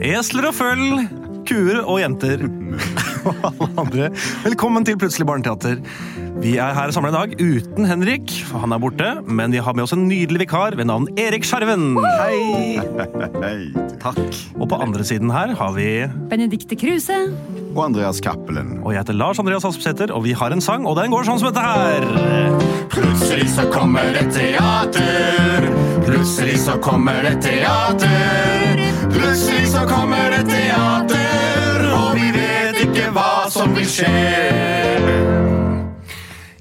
Esler og føll, kuer og jenter og alle andre. Velkommen til Plutselig barneteater. Vi er her samla i dag uten Henrik, for han er borte. Men vi har med oss en nydelig vikar ved navn Erik Skjerven. Hei! Hei. Takk. Og på andre siden her har vi Benedicte Kruse. Og Andreas Cappelen. Og jeg heter Lars Andreas Aspesæter, og vi har en sang, og den går sånn som dette her. Plutselig så kommer det teater. Plutselig så kommer det teater. Plutselig så kommer det teater, og vi vet ikke hva som vil skje.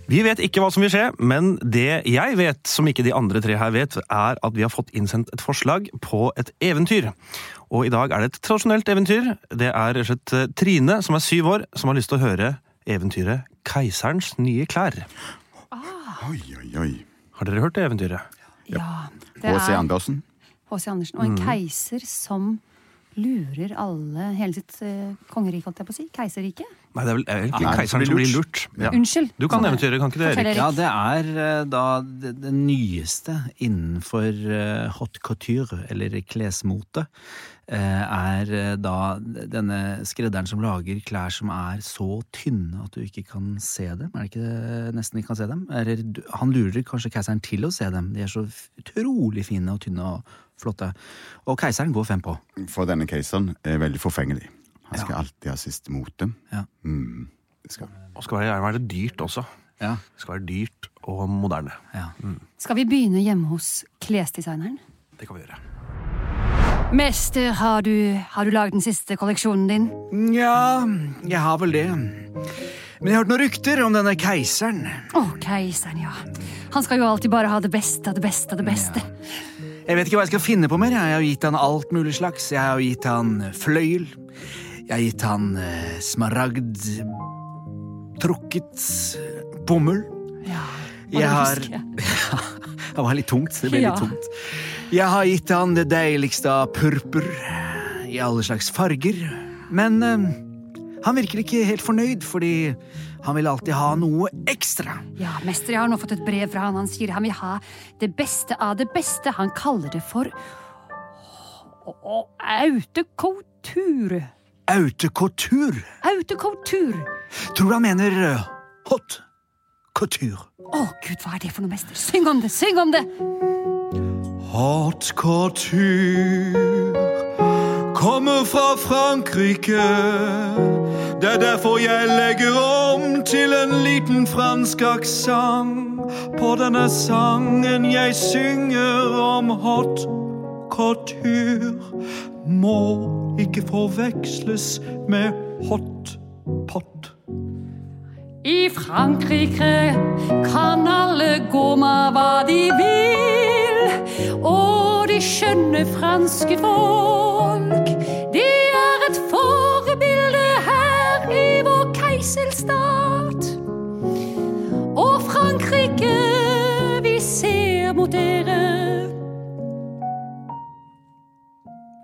Vi vet ikke hva som vil skje, men det jeg vet, som ikke de andre tre her vet, er at vi har fått innsendt et forslag på et eventyr. Og i dag er det et tradisjonelt eventyr. Det er rett og slett eh, Trine, som er syv år, som har lyst til å høre eventyret Keiserens nye klær. Oi, oi, oi. Har dere hørt det eventyret? Ja, det H.C. er Andersen. H.C. Andersen. Og en Mm. keiser som lurer alle Hele sitt eh, kongerike, holdt jeg på å si. Keiserrike. Nei, det er vel egentlig Nei, keiseren som blir lurt. Ja. Unnskyld. Du kan eventyret, kan ikke det, Erik? Fortell, Erik. Ja, det er eh, da det, det nyeste innenfor eh, haute couture, eller klesmote, eh, er eh, da denne skredderen som lager klær som er så tynne at du ikke kan se dem. Er det ikke det? Nesten ikke kan se dem. Eller du- han lurer kanskje keiseren til å se dem. De er så f- utrolig fine og tynne og flotte. Og keiseren går fem på. For denne keiseren er veldig forfengelig. Han skal alltid ha sist mote. Ja. Mm, det skal han. Og skal gjerne være dyrt også. Ja. Det skal være dyrt og moderne. ja. Skal vi begynne hjemme hos klesdesigneren? Det kan vi gjøre. Mester, har du, har du lagd den siste kolleksjonen din? Nja, jeg har vel det. Men jeg har hørt noen rykter om denne keiseren. Å, keiseren, ja. Han skal jo alltid bare ha det beste av det beste av det beste. Jeg vet ikke hva jeg skal finne på mer. Jeg har jo gitt han alt mulig slags. Jeg har jo gitt han eh, fløyel. Jeg har gitt han eh, smaragd trukket eh, bomull. Ja, og det Jeg har husker jeg. ja, Det var litt tungt. Det ble Ja. litt tungt. Jeg har gitt han det deiligste av purpur eh, i alle slags farger. Men eh, han virker ikke helt fornøyd, fordi han vil alltid ha noe ekstra. Ja, mester, jeg har nå fått et brev fra han. Han sier han vil ha det beste av det beste. Han kaller det for Å, å, autokoutur. Autocouture. Autokoutur. Tror du han mener eh, hot couture? Å gud, hva er det for noe, mester? Syng om det! Syng om det! Haute couture kommer fra Frankrike. Det er derfor jeg legger om til en liten fransk aksent på denne sangen jeg synger om haute couture. Må ikke forveksles med hot pot. I Frankrike kan alle gå med hva de vil. Og de skjønne franske folk, de er et forbilde her i vår keiselstat. Og Frankrike, vi ser mot dere.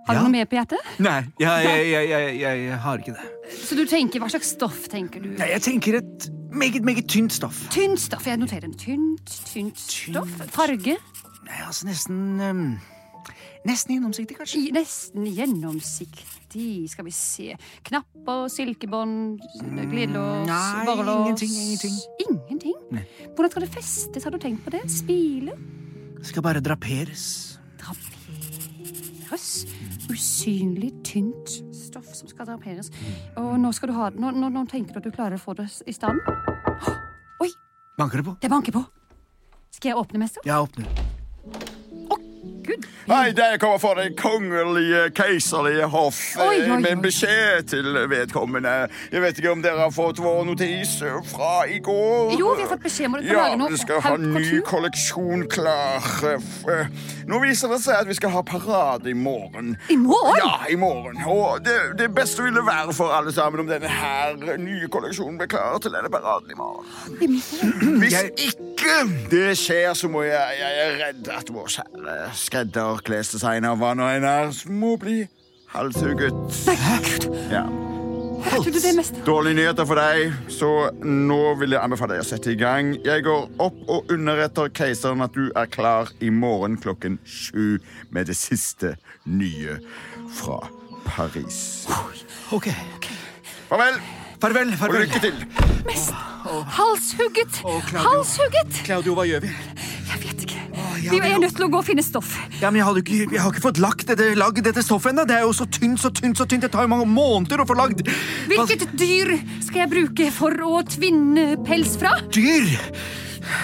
Har du Ja. noe mer på hjertet? Nei, jeg, jeg, jeg, jeg, jeg, jeg har ikke det. Så du tenker, Hva slags stoff tenker du? Nei, jeg tenker et meget, meget tynt stoff. Tynt stoff. Jeg noterer den. Tynt, tynt stoff. Farge. Nei, altså nesten ehm, Nesten gjennomsiktig, kanskje. I- Nesten gjennomsiktig. Skal vi se. Knapper, silkebånd, glidelås, nei, borrelås ingenting, ingenting. Ingenting? Hvordan skal det festes? Har du tenkt på det? Spile? Skal bare draperes. Draperes? Usynlig, tynt stoff som skal draperes. Og nå skal du ha det. Nå, nå, nå tenker du at du klarer å få det s- i stand? Åh! Oi, Banker det på? det banker på! Skal jeg åpne, mester? Jeg åpner. Gud. Hei, der kommer fra det kongelige, keiserlige hoff. eh, Oi, oi, Med en oi. beskjed til vedkommende. Jeg vet ikke om dere har fått vår notis fra i går? Jo, vi har fått beskjed om at vi Ja, lager noe vi skal ha haute ny couture. kolleksjon klar. Eh, Nå viser det seg at vi skal ha parade i morgen. I morgen? Ja, i morgen. Og det, det beste ville være for alle sammen om denne her nye kolleksjonen ble klar til denne paraden i morgen. I morgen. Hvis Jeg- ikke det skjer, så må jeg, jeg er redd at vår kjære skredder, klesdesigner, hva nå enn er, må bli halshugget. Nei, gud. Ja. Hørte du det, mester? Dårlige nyheter for deg, så nå vil jeg anbefale deg å sette i gang. Jeg går opp og underretter keiseren at du er klar i morgen klokken sju med det siste nye fra Paris. Ok. Farvel Farvel, og farvel. lykke til. Mest halshugget! Claudio. Halshugget! Claudio, hva gjør vi? Jeg vet ikke. ja, Vi men- er nødt til å gå og finne stoff. Ja, men jeg, hadde ikke, jeg har ikke fått lagt dette, lagd dette stoffet ennå. Det er jo så tynt, så tynt, så tynt. Det tar jo mange måneder å få lagd. Altså, Hva- Hvilket dyr skal jeg bruke for å tvinne pels fra? Dyr!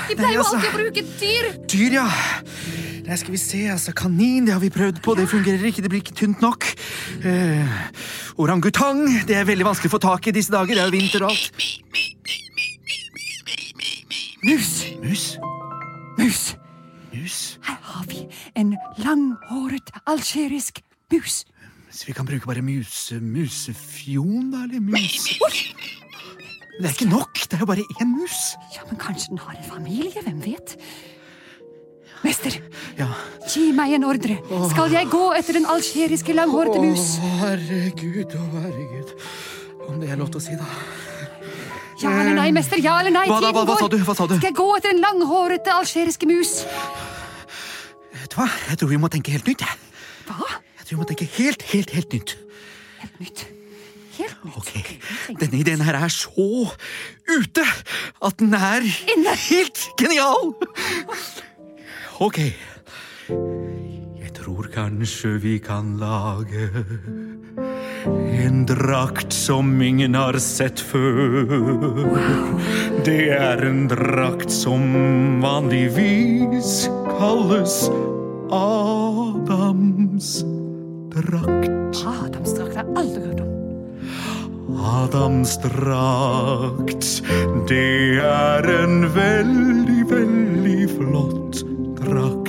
Vi pleier jo altså- alltid å bruke dyr. Dyr, ja. Nei, skal vi se, altså. Kanin, det har vi prøvd på. Det fungerer ikke. Det blir ikke tynt nok. Eh, orangutang. Det er veldig vanskelig å få tak i disse dager. Det er jo vinter og alt. Mus. Mus? Mus. Mus? Her har vi en langhåret algerisk mus. Så vi kan bruke bare muse... musefjon, da? Eller muse... Men det er ikke nok. Det er jo bare én mus. Ja, men kanskje den har en familie? Hvem vet? Mester, Ja. gi meg en ordre. Skal jeg gå etter den algeriske langhårete mus? Å, herregud, å, herregud. Om det er lov til å si, da. Ja eller nei, mester? Ja eller nei? Hva da, Tiden hva- hva går. sa du, hva sa du? Skal jeg gå etter den langhårete algeriske mus? Vet du hva? Jeg tror vi må tenke helt nytt. jeg. Hva? Jeg tror vi må tenke helt, helt, helt nytt. Helt nytt. Helt nytt. Ok, jeg tenker- Denne ideen her er så ute at den er Inne. helt genial! Ok. Jeg tror kanskje vi kan lage en drakt som ingen har sett før. Det er en drakt som vanligvis kalles Adams drakt. Adamsdrakt har Ah, jeg aldri hørt om. Adams drakt, det er en veldig, veldig flott drakt.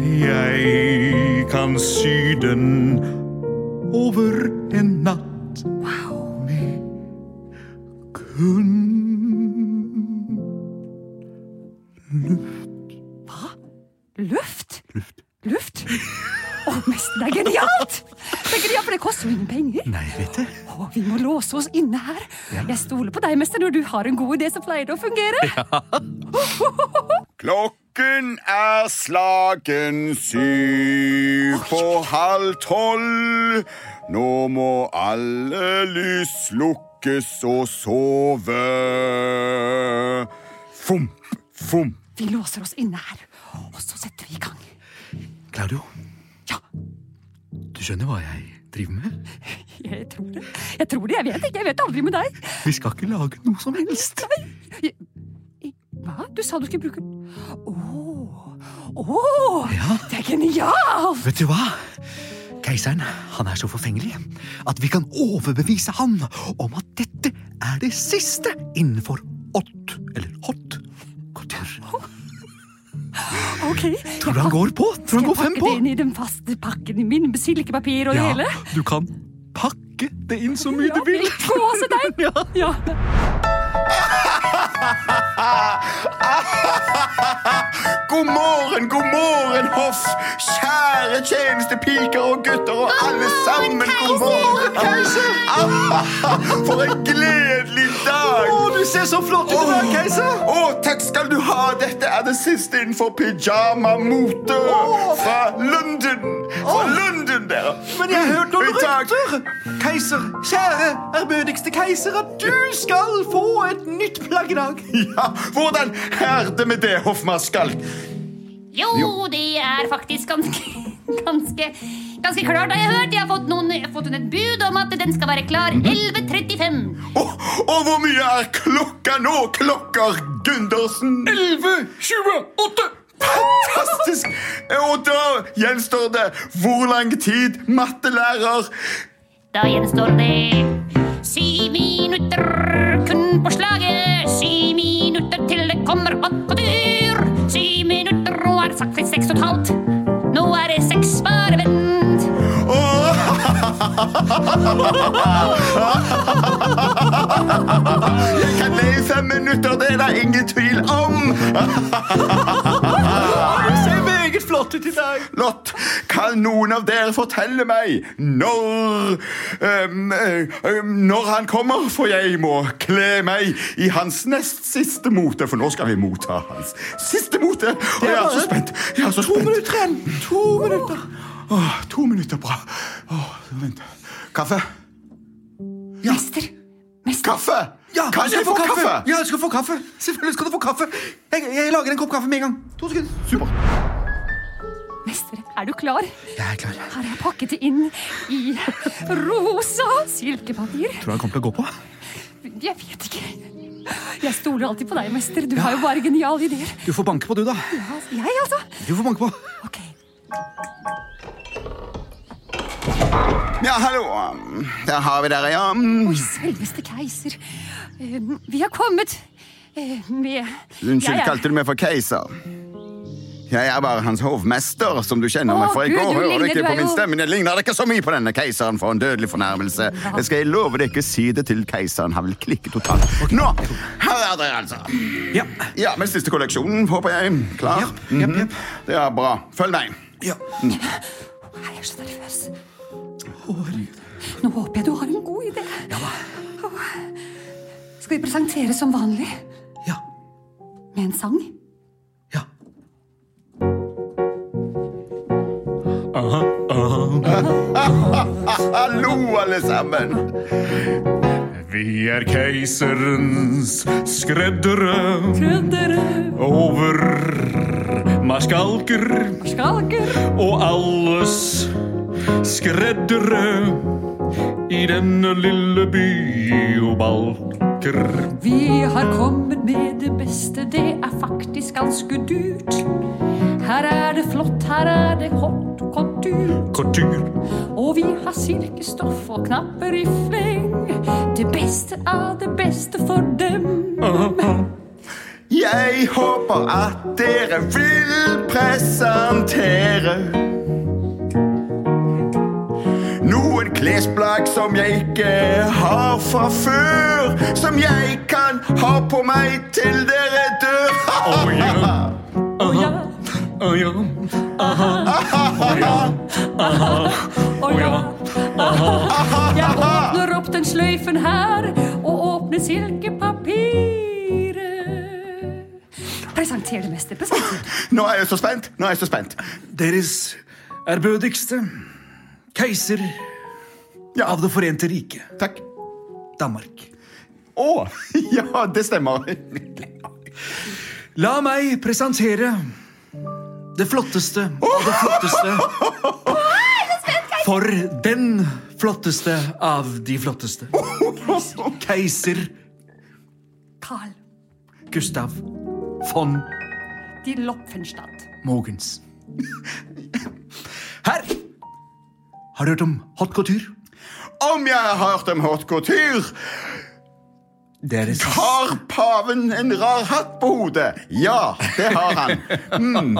Jeg kan sy den over en natt med kun Luft? Luft. Luft? Å, mest, det er genialt! Det er genialt, For det koster jo ingen penger. Nei, vet du. Å, vi må låse oss inne her. Jeg stoler på deg, mester. Når du har en god idé, så pleier det å fungere. Klokken er slagen syv på halv tolv. Nå må alle lys slukkes og sove. Fomp, fomp. Vi låser oss inne her, og så setter vi i gang. Claudio, Ja, du skjønner hva jeg driver med? jeg tror det. Jeg tror det, jeg vet ikke. Jeg vet aldri med deg. Vi skal ikke lage noe som helst. Hva? Du sa du skulle bruke Å, å, det er genialt! Vet du hva? Keiseren han er så forfengelig at vi kan overbevise han om at dette er det siste innenfor ått eller hot couture. Ok. Tror du han går på? Tror Skal han jeg går fem pakke på? det inn i den faste pakken min med silkepapir og det hele? du kan pakke det inn så mye du Ja, vil. litt gåsetegn. Ja. God morgen, god morgen, hoff! Kjære tjenestepiker og gutter og alle sammen. God morgen, keiser! For en gledelig dag! Å, du ser så flott ut i dag, keiser! Å, takk skal du ha! Dette er det siste innenfor pyjamamote fra London. Fra London, dere. Men jeg har hørt noen Oi, takk. rykter! Keiser, kjære ærbødigste keiser, at du skal få et nytt plagg i dag. Ja, hvordan er det med det, hoffmarskalk? Jo, det er faktisk ganske Ganske, ganske klart, har jeg hørt. Jeg har fått, noen, jeg har fått et bud om at den skal være klar Mhm. 11.35. Og, og hvor mye er klokka nå, klokker Gundersen? 11.28! Fantastisk! Og da gjenstår det hvor lang tid, mattelærer? Da gjenstår det syv minutter kun på slaget. Syv minutter til det kommer åtte dyr. Syv minutter, nå er det sagt seks og et halvt. Nå er det seks, bare vent. Åh, jeg kan le i fem minutter, det er det ingen tvil om. Du ser meget flott ut i dag. Lott, kan noen av dere fortelle meg når ehm, eh, ehm, Når han kommer? For jeg må kle meg i hans nest siste mote, for nå skal vi motta hans siste mote. Og jeg er så spent. Jeg er så To spent. minutter igjen. To minutter. Åh, to minutter, bra. Vent. Kaffe? Mester! Mester! Kaffe! kan jeg få kaffe? Ja, du skal få kaffe! Selvfølgelig skal du få kaffe! Jeg, jeg lager en kopp kaffe med en gang. To sekunder. Supert. Mester, er du klar? Jeg er klar. Her har jeg pakket det inn i rosa silkepapir. Tror du han kommer til å gå på? Jeg vet ikke. Jeg stoler alltid på deg, mester. Du har jo bare geniale ideer. Du får banke på, du, da. Ja, Jeg, altså. Du får banke på. Ok. Ja, hallo. Der har vi dere, ja. Mm. Oi, selveste keiser. Eh, Vi har kommet eh, med Unnskyld, Jeg er- kalte du meg for keiser? Jeg er bare hans hovmester, som du kjenner meg Å, fra i Gud, går. du Hører du ligner- ikke du på er min jo- stemme? Det ligner ikke så mye på denne keiseren for en dødelig fornærmelse. Jeg skal love deg ikke si det til keiseren. Han vil klikke totalt. Nå! Her er dere, altså. Ja. Ja, med siste kolleksjonen, håper jeg. Klar? Japp, japp, Mhm. japp. Det er bra. Følg meg. ja. Nei, Jeg er så nervøs. Nå håper jeg du har en god idé. Åh. Skal vi presentere som vanlig? Ja. Med en sang? Ja. Hallo, alle sammen. Vi er keiserens skreddere Trøndere, over marskalker skalker og alles skreddere i denne lille by og balker. Vi har kommet med det beste, det er faktisk ganske dyrt. Her er det flott, her er det kort kontur. Couture, Og vi har silkestoff og knapper i fleng. Det beste er det beste for dem. Jeg håper at dere vil presentere noen klesplagg som jeg ikke har fra før, som jeg kan ha på meg til dere dør. å ja, Å ja, å ja, å ja. Jeg åpner opp den sløyfen her og åpner silkepapiret. Presenter det meste. Presenter. Nå er jeg så spent. Nå er jeg så spent. Deres ærbødigste keiser Ja. av Det forente riket, Takk. Danmark. Å, ja, det stemmer. La meg presentere det flotteste av det flotteste. For den flotteste av de flotteste. Keiser Carl Gustav von de Lopfenstadt. Mogens. Her! Har du hørt om hot couture? Om jeg har hørt om haute couture, Deres har paven en rar hatt på hodet? Ja, det har han. Mm.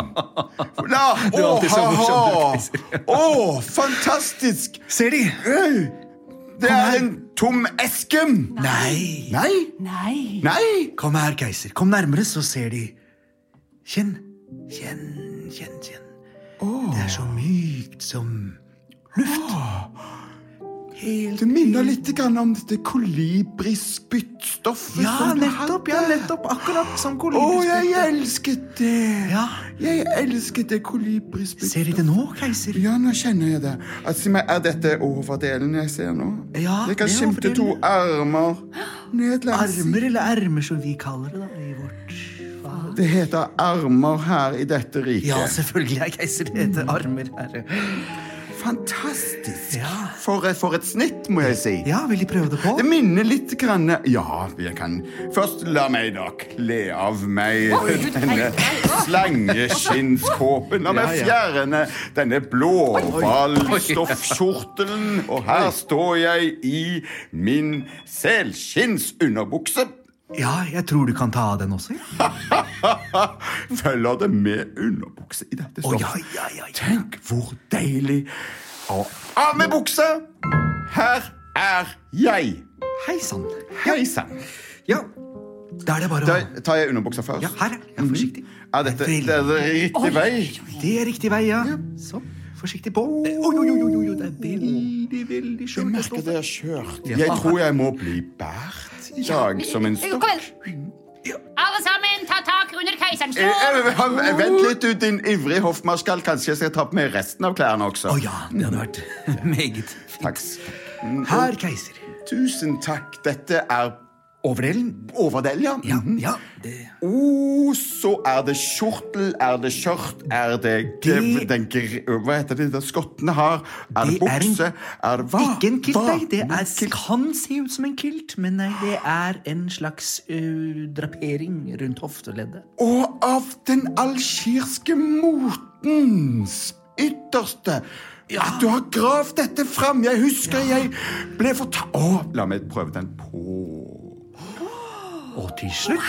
La, Du er alltid så åh, morsom, ha, du, Christer. ha. Åh, fantastisk! Ser de? Det er en tom eske. Nei. Nei? Nei. Nei? Kom her, keiser. Kom nærmere, så ser de. Kjenn, kjenn, kjenn, kjenn. Det er så mykt som Det minner litt grann om dette kolibrispyttstoffet. Ja, som du nettopp! ja, hadde. nettopp, Akkurat som Å, kolibrispyttet. jeg elsket det! Ja. Jeg elsket det kolibrispyttet. Ser de det nå, keiser? Ja, nå kjenner jeg det. Altså, men er dette overdelen jeg ser nå? Ja, jeg kan det er Ah, skimte to overdelen. armer ned langs Armer eller ermer, som vi kaller det da, i vårt fag. Det heter armer her i dette riket. Ja, selvfølgelig er keiser. Det heter armer, herre. Fantastisk! Ja. For, et- for et snitt, må jeg si. Ja, vil de prøve det på? Det minner litt grann Ja, jeg kan Først la meg da kle av meg Oi, Gud, nei, denne nei, å. slangeskinnskåpen. La meg Ja, fjerne denne blåhvalstoffskjortelen. Og her står jeg i min selskinnsunderbukse. Ja, jeg tror du kan ta av den også. ja. Følger det med underbukse i dette Å, ja, stoffet? ja, ja, ja. Tenk hvor deilig. Og av med buksa! Her er jeg. Hei sann. Hei sann. Ja. Da er det bare å Da tar jeg underbuksa først. Ah. Mhm. Ja, her. ja. Ja, forsiktig. Ja, dette Vel. det er det riktig vei. Det er riktig vei, ja. Sånn. Forsiktig på. Oi, oi, oi, oi, oi, det er veldig, Mm. veldig Jeg skjørt. merker det er skjørt. Jeg tror jeg må bli båret i dag som en Kom stokk. igjen. Alle sammen, ta tak under keiserens Eh, lår! eh, ha- Vent litt, du, din ivrige hoffmarskall. Kanskje jeg skal ta på meg resten av klærne også. Å ja, det hadde vært meget. Takk. Herr keiser. Tusen takk. Dette er Overdelen? overdel, ja. Mhm. Ja, ja. Mhm. Det, Oh, så er det skjortel, er det skjørt, er det, Det- den, gr- Hva heter det, det skottene har? Er det, Det er en- bukse? Er det hva? Ikke en kilt, Hva? nei. Det er, Kilt. kan se ut som en kilt, men nei, det er en slags ø, drapering rundt hofteleddet. Og av den algirske motens ytterste At du har gravd dette fram! Jeg husker jeg ble fortalt Å, la meg prøve den på Og til slutt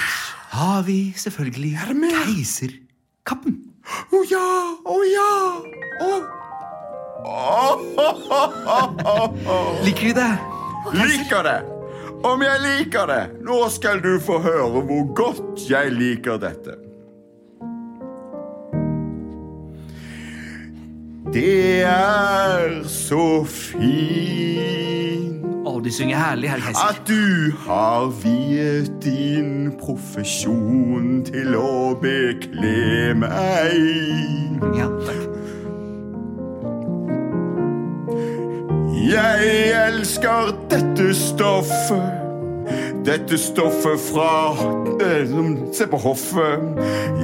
har vi selvfølgelig keiserkappen. Å ja! Å ja! Å Liker du det? Liker det! Om jeg liker det! Nå skal du få høre hvor godt jeg liker dette. Det er så fint Å, de synger herlig, herr keiser. at du har viet din profesjon til å bekle meg. Ja, takk. Jeg elsker dette stoffet. Dette stoffet fra eh, som- Se på hoffet.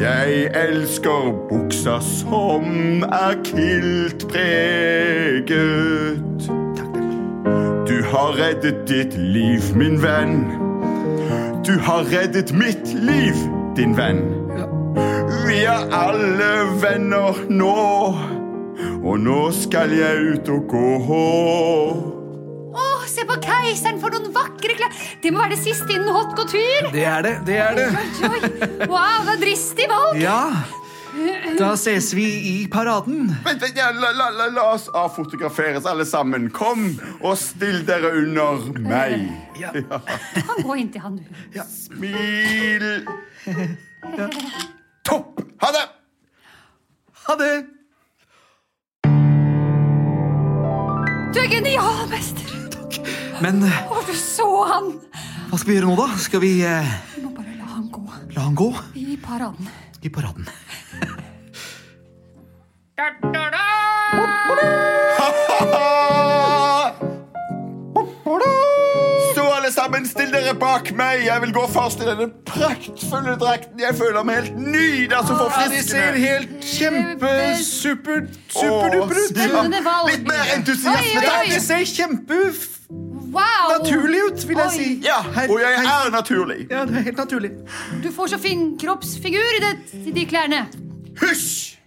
Jeg elsker buksa som er kiltpreget. Du har reddet ditt liv, min venn. Du har reddet mitt liv, din venn. Vi er alle venner nå. Og nå skal jeg ut og gå. Å, se på keiseren, for noen vakre klær! Det må være det siste innen hot couture! Det er det. Det er det. Oi, oi. Wow, det er dristig valg! Ja. Da ses vi i paraden. Vent, vent, ja, la, la, la, la oss avfotograferes alle sammen. Kom og still dere under meg. Ja. Han går inn til han, du. Smil. Topp. Ha det! Ha det. Du er genial, mester! Men ø, Å, du så han! hva skal vi gjøre nå, da? Skal vi ø, Vi må bare la han gå. la han gå I paraden. i paraden? Da, da, da. Stå alle sammen, still dere bak meg. Jeg vil gå først i denne praktfulle drakten. Jeg føler meg helt altså, ny. Det er så forfriskende. helt kjempesupert Åh, Spennende valg. Litt mer Oi, entusiasme, oi, takk. oi. ser kjempenaturlig Wow! ut, Oi. Ja, og jeg er naturlig. Ja, det er helt naturlig. Du får så fin kroppsfigur i, det, i de klærne. Hysj!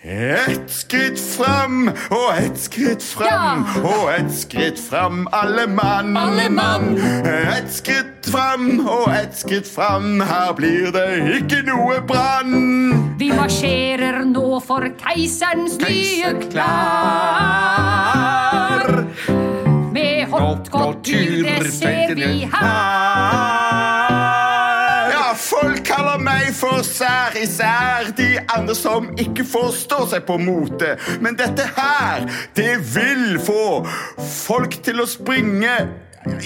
Ett skritt fram og ett skritt fram og ett skritt fram, alle mann. Alle mann. Ett skritt fram og ett skritt fram, her blir det ikke noe brann. Vi marsjerer nå for keiserens nye klær. Med hot couture, det ser vi her. Ja, folk kaller meg for sær især, de andre som ikke forstår seg på mote. Men dette her, det vil få folk til å springe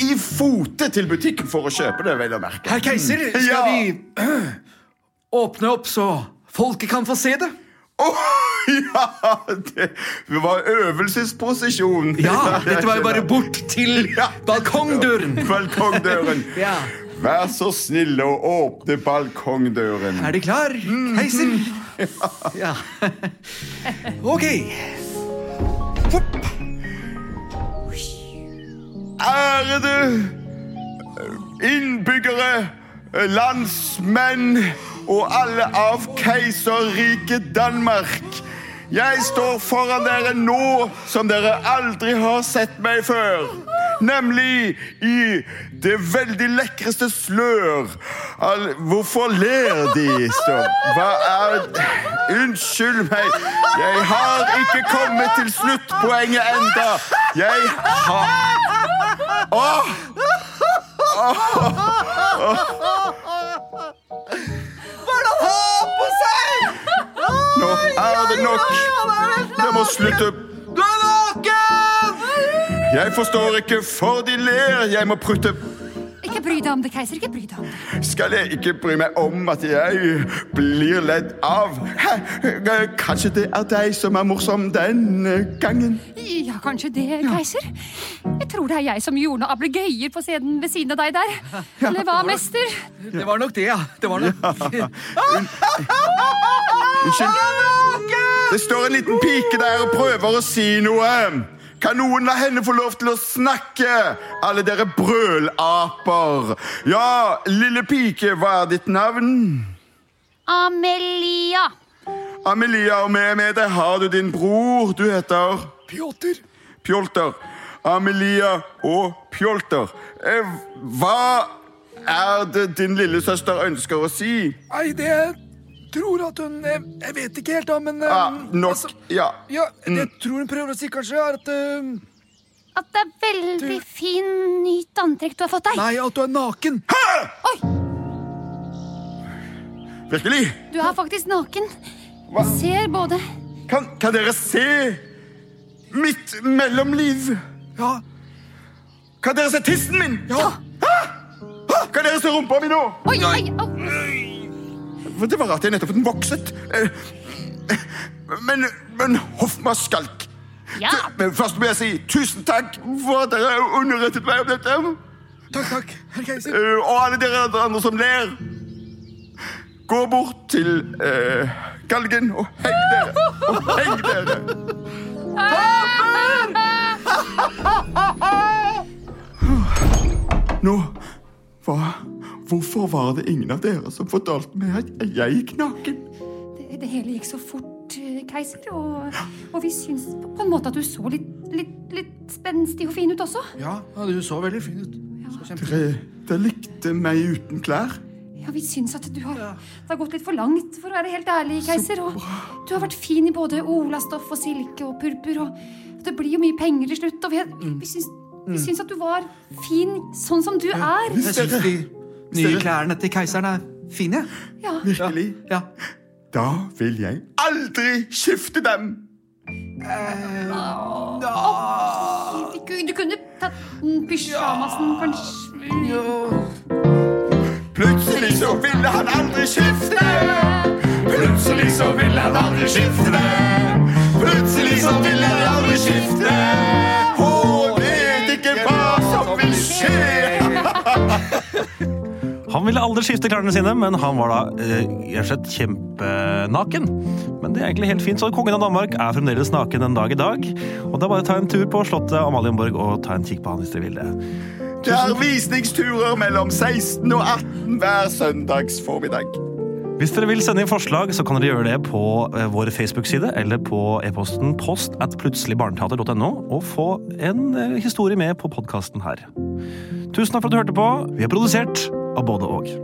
i fote til butikken for å kjøpe det, vel å merke. Herr keiser, skal Ja. vi åpne opp så folket kan få se det? Åh, ja, det var øvelsesprosesjon. Ja, dette var jo bare bort til Ja. balkongdøren. Balkongdøren. Ja. Vær så snill å åpne balkongdøren. Er de klar, keiser? Mm. Ja. Ok. Ærede innbyggere, landsmenn og alle av keiserriket Danmark. Jeg står foran dere nå som dere aldri har sett meg før. Nemlig i det veldig lekreste slør. Al Hvorfor ler de sånn? Hva er Unnskyld meg. Jeg har ikke kommet til sluttpoenget enda. Jeg har Åh! Hva er det han har på seg? Nå er det nok. Det må slutte. Du er naken! Jeg forstår ikke, for de ler. Jeg må prutte. Ikke Ikke bry deg om det, keiser. Ikke bry deg om det. Skal jeg ikke bry meg om at jeg blir ledd av? Hæ? Kanskje det er deg som er morsom denne gangen? Ja, kanskje det, keiser. Jeg tror det er jeg som gjorde noe ablegøyer på scenen ved siden av deg der. Eller hva, mester? Det var nok det, ja. Det var nok. Unnskyld. Det står en liten pike der og prøver å si noe. Kan noen la henne få lov til å snakke, alle dere brølaper? Ja, lille pike, hva er ditt navn? Amelia. Amelia, og med, med deg har du din bror. Du heter Pjotr. Pjolter. Amelia og Pjolter. Eh, hva er det din lillesøster ønsker å si? Nei, det jeg tror at hun Jeg, jeg vet ikke helt, da, men eh, Ja, nok, altså, ja. ja, det jeg tror hun prøver å si, kanskje, er at eh, At det er veldig fin nytt antrekk du har fått deg. Nei, at du er naken. Oi, Virkelig? du er faktisk naken. Hva? Ser både Kan, kan dere se mitt mellomliv? Ja. Kan dere se tissen min? Ja. Kan dere se rumpa mi nå? Oi, oi, au. For Det var rart jeg nettopp den vokset. Eh, Men, men Hoffmann skalk. Ja. Du- Men først må jeg si tusen takk for at dere underrettet meg om dette. Takk, takk, herr keiser. Eh, Og alle dere andre som ler. Gå bort til eh, galgen og heng dere. Og heng dere. Nå hva, Hvorfor var det ingen av dere som fortalte meg at jeg gikk naken? Det, det hele gikk så fort, eh, keiser, og, og vi syns på en måte at du så litt, litt, litt spenstig og fin ut også. Ja, ja, du så veldig fin ut. Så kjempe- Dere, dere likte meg uten klær. Ja, vi syns at du har, det har gått litt for langt, for å være helt ærlig, keiser. Og du har vært fin i både olastoff og silke og purpur, og det blir jo mye penger til slutt, og vi, vi syns vi syns at du var fin sånn som du er. Jeg syns de nye klærne til keiseren er fine. Ja. Virkelig. Ja. Da vil jeg aldri skifte dem. Du, ku- du kunne tatt den pysjamasen, kanskje. Plutselig så ville han aldri skifte. Plutselig så ville han aldri skifte Plutselig så ville han aldri skifte. Hun vet ikke hva som vil skje. Han ville aldri skifte klærne sine, men han var da eh, rett og slett kjempenaken. Men det er egentlig helt fint, så kongen av Danmark er fremdeles naken den dag i dag. Og da bare ta en tur på Slottet Amalienborg og ta en kikk på han hvis dere vil det. Det er visningsturer mellom 16 og 18 hver søndags formiddag. Hvis dere vil sende inn forslag, så kan dere gjøre det på eh, vår Facebook-side eller på e-posten post at plutseligbarneteater.no, og få en eh, historie med på podkasten her. Tusen takk for at du hørte på. Vi er produsert av både og.